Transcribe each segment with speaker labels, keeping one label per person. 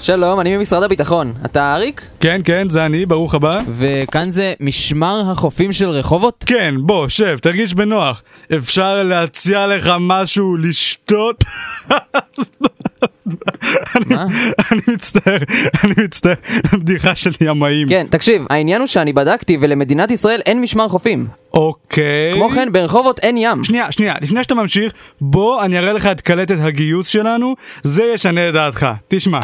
Speaker 1: שלום, אני ממשרד הביטחון. אתה אריק?
Speaker 2: כן, כן, זה אני, ברוך הבא.
Speaker 1: וכאן זה משמר החופים של רחובות?
Speaker 2: כן, בוא, שב, תרגיש בנוח. אפשר להציע לך משהו לשתות? אני-
Speaker 1: מה?
Speaker 2: אני מצטער, אני מצטער, הבדיחה של ימאים.
Speaker 1: כן, תקשיב, העניין הוא שאני בדקתי ולמדינת ישראל אין משמר חופים.
Speaker 2: אוקיי.
Speaker 1: כמו כן, ברחובות אין ים.
Speaker 2: שנייה, שנייה, לפני שאתה ממשיך, בוא אני אראה לך את קלטת הגיוס שלנו, זה ישנה את דעתך. תשמע.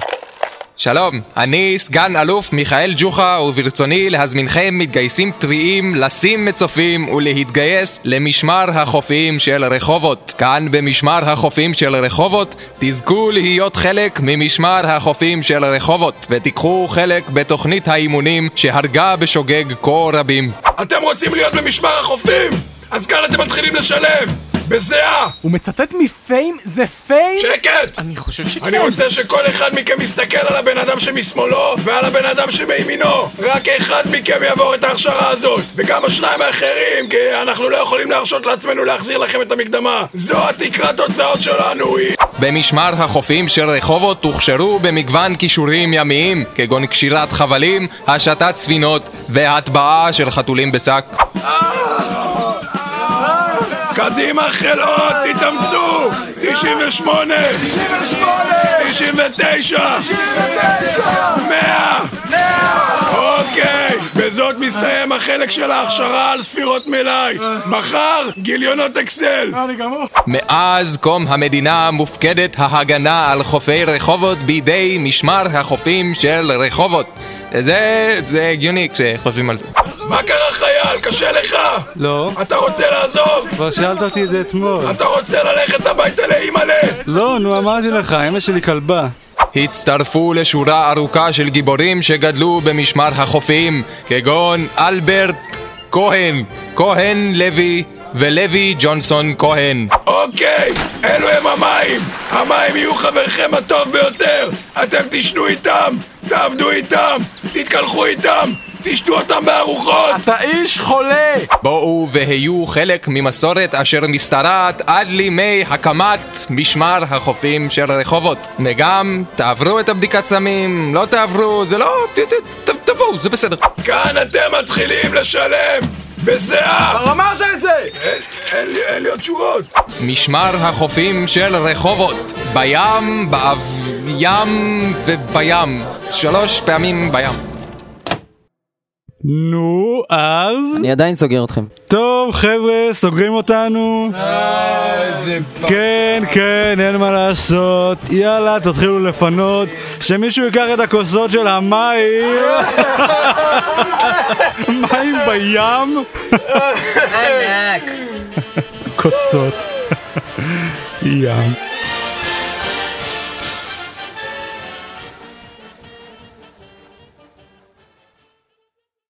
Speaker 3: שלום, אני סגן אלוף מיכאל ג'וחה, וברצוני להזמינכם מתגייסים טריים לשים מצופים ולהתגייס למשמר החופים של רחובות. כאן במשמר החופים של רחובות, תזכו להיות חלק ממשמר החופים של רחובות, ותיקחו חלק בתוכנית האימונים שהרגה בשוגג כה רבים.
Speaker 4: אתם רוצים להיות במשמר החופים? אז כאן אתם מתחילים לשלם! בזיעה!
Speaker 5: הוא מצטט מפיים? זה פיים?
Speaker 4: שקט!
Speaker 5: אני חושב שכן.
Speaker 3: כן.
Speaker 4: אני רוצה שכל אחד מכם יסתכל על הבן אדם שמשמאלו ועל הבן אדם שמימינו רק אחד מכם יעבור את ההכשרה הזאת וגם השניים האחרים כי אנחנו לא יכולים להרשות לעצמנו להחזיר לכם את המקדמה זו התקרת הוצאות שלנו היא
Speaker 3: במשמר החופים של רחובות הוכשרו במגוון כישורים ימיים, כגון קשירת חבלים, השתת ספינות והטבעה של חתולים בשק.
Speaker 4: קדימה חלאות, תתאמצו! 98! 98! 99! 100! 100! אוקיי, בזאת מסתיים החלק של ההכשרה על ספירות מלאי. מחר, גיליונות אקסל!
Speaker 3: מאז קום המדינה מופקדת ההגנה על חופי רחובות בידי משמר החופים של רחובות. זה, זה הגיוני כשחושבים על זה.
Speaker 4: מה קרה חייל? קשה לך?
Speaker 2: לא,
Speaker 4: אתה רוצה לעזוב?
Speaker 2: כבר שאלת אותי את זה אתמול.
Speaker 4: אתה רוצה ללכת הביתה לאימא'לה?
Speaker 2: לא, נו, אמרתי לך, אמא שלי כלבה.
Speaker 3: הצטרפו לשורה ארוכה של גיבורים שגדלו במשמר החופים, כגון אלברט כהן, כהן לוי ולוי ג'ונסון כהן.
Speaker 4: אוקיי, אלו הם המים! המים יהיו חברכם הטוב ביותר! אתם תשנו איתם! תעבדו איתם! תתקלחו איתם! תשתו אותם בארוחות!
Speaker 5: אתה איש חולה!
Speaker 3: בואו והיו חלק ממסורת אשר משתרעת עד לימי הקמת משמר החופים של רחובות. וגם, תעברו את הבדיקת סמים, לא תעברו, זה לא... ת- ת- ת- תבואו, זה בסדר.
Speaker 4: כאן אתם מתחילים לשלם! בזיעה!
Speaker 5: כבר אמרת את זה!
Speaker 4: אין- אין לי- אין לי עוד תשובות!
Speaker 3: משמר החופים של רחובות, בים, באב... ים ובים. שלוש פעמים בים.
Speaker 2: נו, אז?
Speaker 1: אני עדיין סוגר אתכם.
Speaker 2: טוב, חבר'ה, סוגרים אותנו. כן, כן, אין מה לעשות. יאללה, תתחילו לפנות. שמישהו ייקח את הכוסות של המים. מים בים?
Speaker 1: ענק!
Speaker 2: כוסות. ים.